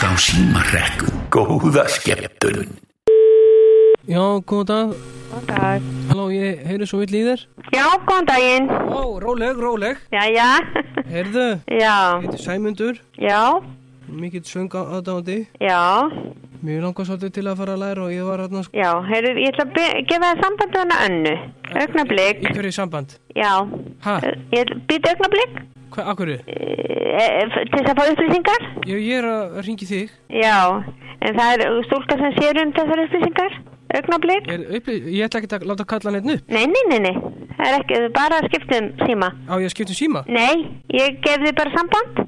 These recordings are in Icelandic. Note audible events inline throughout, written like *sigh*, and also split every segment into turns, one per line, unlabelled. símarrekku. Góða skemmtun.
Já, góðan dag.
Góðan dag.
Halló, ég heyri svo vill í þér.
Já, góðan daginn.
Ó, róleg, róleg.
Jæja.
Heyrðu,
*laughs* Já,
þetta er Sæmundur,
já,
mikill söng aðdándi.
já,
Mér langar svolítið til að fara að læra og ég var hérna sko
já. Heyrðu, ég ætla að be- gefa það sambandu hana önnu. Augnablík.
í hverju samband.
Já.
Ha?
Ég býta augnablík
Hvað, akkurru?
Eh, til þess að fá upplýsingar.
Ég, ég er að ringi þig.
Já, en það er stúlka sem sér um þessar upplýsingar. Augnablík.
Ég, uppli, ég ætla ekki að láta kalla hann einn upp.
Nei, nei, nei, nei. Það er ekki, bara að skipta um síma.
Á, ég að skipta um síma.
Nei, ég gef þið bara samband.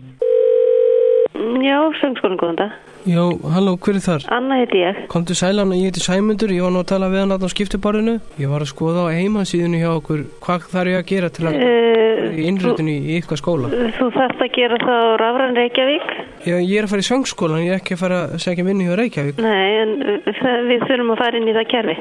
Mm, Já, söngskólinn góðan dag.
Já, halló, hver er þar?
Anna heiti ég.
Komdu sælan og ég heiti Sæmundur, ég var nú að tala við hann að á skiptibarinu. Ég var að skoða á heimasíðinu hjá okkur, hvað þarf ég að gera til að
Eh,
Uh,
í innröðinu í ykkar skóla?
þú þarft að gera það á Rafran Reykjavík.
Ég, ég er að fara í söngskólan, ég er ekki að fara að segja minni hjá Reykjavík.
Nei, en uh, það- við þurfum að fara inn í það kerfi.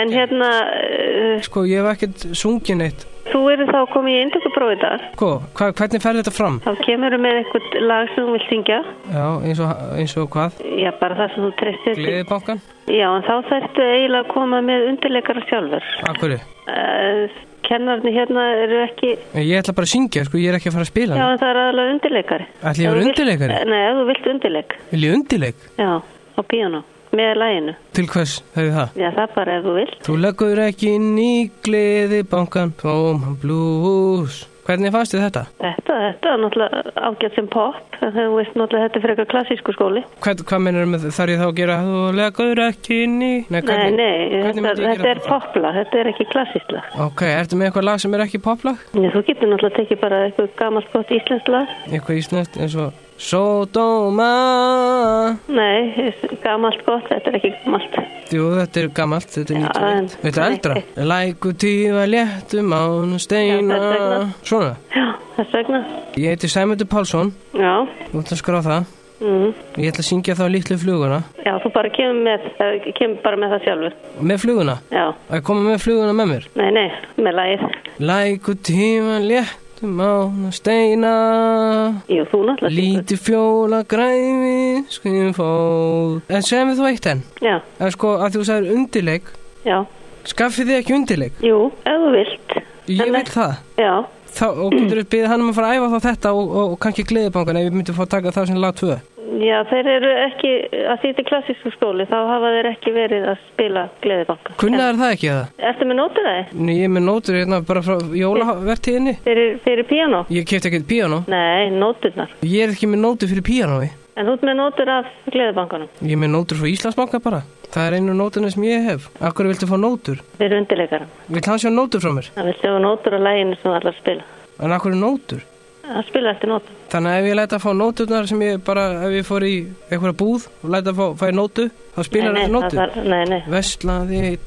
En hérna, uh,
Sko, ég hef ekkert sungið neitt.
þú eru þá komið í eindökuprófið dag.
Sko, hva, hvernig fer þetta fram?
Þá kemur með einhvert lag sem þú vilt syngja.
Já, eins og, eins og hvað?
Já, bara það sem þú treystir til.
Gleðibankan?
Já, en þá þarftu eiginlega að koma með undirleikara sjálfur.
Akkurri.
Uh, kennarni hérna eru ekki...
Ég ætla bara að syngja, sko, ég er ekki að fara að spila.
Já,
Já.
en það er aðalega undirleikari.
Ætli ég
Ef
vera
þú vilt-
undirleikari?
Nei, ef þú vilt undirleik.
Vil ég undileik?
Já, á píano. Með læginu.
Til hvers þegar það?
Já, það bara ef þú vilt.
Þú leggur ekki inn í gleðibankan, tóman blús. Hvernig fannst þið þetta?
Þetta, þetta er náttúrulega ágætt sem pop, en þú veist náttúrulega þetta er frekar klassísku skóli.
Hvað, hvað mennur með þarf ég þá að gera? Þú leggur ekki inn í... Nei,
nei, nei, þetta,
myndi ég
þetta er
gera það?
popla, þetta er ekki klassísla.
Ok, ertu með eitthvað lag sem er ekki poplag?
Nei, þú getur náttúrulega tekið bara eitthvað gamalt gott íslenskt lag.
eitthvað íslenskt eins og Sodoma
Nei, gamalt gott, þetta er ekki gamalt.
Jú, þetta er gamalt, þetta er
Já,
91
en-
Þetta er eldra Læku tífa léttum um án steina
Já, þetta er eldra.
Svona,
Já, þess vegna.
ég heiti Sæmundur Pálsson
Já,
Þú ætla að skrá það
mm,
Ég ætla að syngja þá litlu fluguna
já, þú bara kemur, með, eh, kemur bara með það sjálfur.
Með fluguna
Já,
Að koma með fluguna með mér
nei, nei, með lagið.
Læku tífa léttum um án steina
Jú, þú náttúrulega. syngur.
Líti fjóla græfi Skrifum fóð En segja mér þú eitt enn
Já,
En sko, að þú sagðir undirleik
já,
Skaffið þið ekki undirleik
jú, ef þú vilt.
Ég
En-
vil það.
Já,
Þá, og
*clears throat*
getur við byggðið hann um að fara að æfa þá þetta og, og, og kannski gleðibankan ef við myndum fá að taka það sem lag 2.
Já, þeir eru ekki, að því þetta er klassísku skóli, þá hafa þeir ekki verið að spila gleðibanka.
Kunnaður það ekki það?
En- Ertu með nótur það?
Nei, ég er með nótur hérna bara frá jólavertíðinni.
Fyrir, fyrir píano?
Ég kefti ekkert píano.
Nei, nóturnar.
Ég er ekki með nótur fyrir píanói.
En þú ert með nótur af gleðibankanum,
Ég er með nótur frá Íslandsbanka bara. Það er einu nóturinn sem ég hef. Akkur viltu fá nótur?
fyrir undirleikarum.
Vil hann sjá nótur frá mér?
Það viltu hafa nótur á læginu sem þú ætlar að spila.
En akkur er nótur?
Að spila eftir nótur.
Þannig að ef ég læta að fá nóturnar sem ég bara, ef ég fór í einhverja búð og læta að fá, fæ nótu, þá
Nei,
spilar
nei,
þetta
það
nótu.
þarf- Nei, nei,
Vestlaði einn,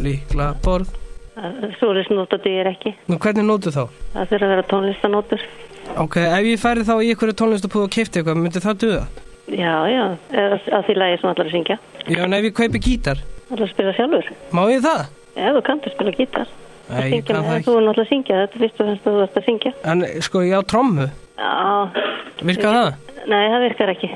líkla borð.
súlisnóta dýr ekki.
Nú hvernig nótu þá?
Það þurfa að vera tónlistanótur.
Ok, ef ég færi þá í ykkur tónlistapúð og kefti eitthvað, myndi það duða?
Já, já, eða að því lægi sem þú ætlar að syngja.
Já, en ef ég kaupi gítar,
Ætlar að spila sjálfur.
má ég það?
Ef þú kanntu að spila gítar.
Nei, ég
Syngja
kann það
með-
ekki.
Þú er náttúrulega að syngja, þetta er fyrst og fremst að þú ert að syngja.
En sko, ég á trommu,
Já,
virka það?
Nei, það virkar ekki.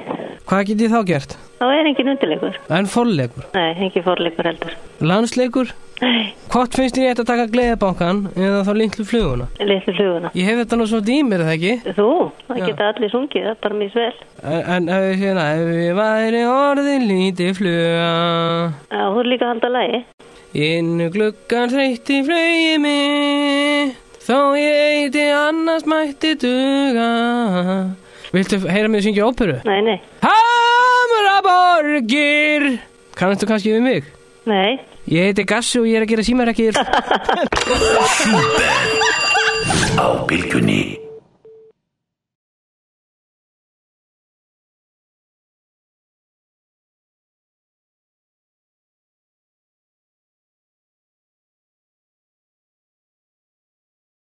Hvað get ég þá gert?
Þá er engin undirleikur.
En forleikur,
Nei, engin forleikur heldur.
landsleikur,
Nei,
hvort finnst ég þetta að taka gleðibankan eða þá lintlu fluguna?
litlu fluguna.
Ég hef þetta nú svo dýmir, það ekki?
Þú, það
Já.
geta allir sungið, það er bara mjög svel.
En, en ef ég segja, ef ég væri orðin lítið fluga,
Já, þú er líka að halda lægi.
innu gluggan hreitti flögi mig, þó ég eiti annars mætti duga. Viltu heyra mig syngja óperu?
Nei, nei,
Hamraborgir Kannastu kannski við mig?
nei.
Ég heiti Gassi og ég er að gera símarekkir
Á bylgjunni.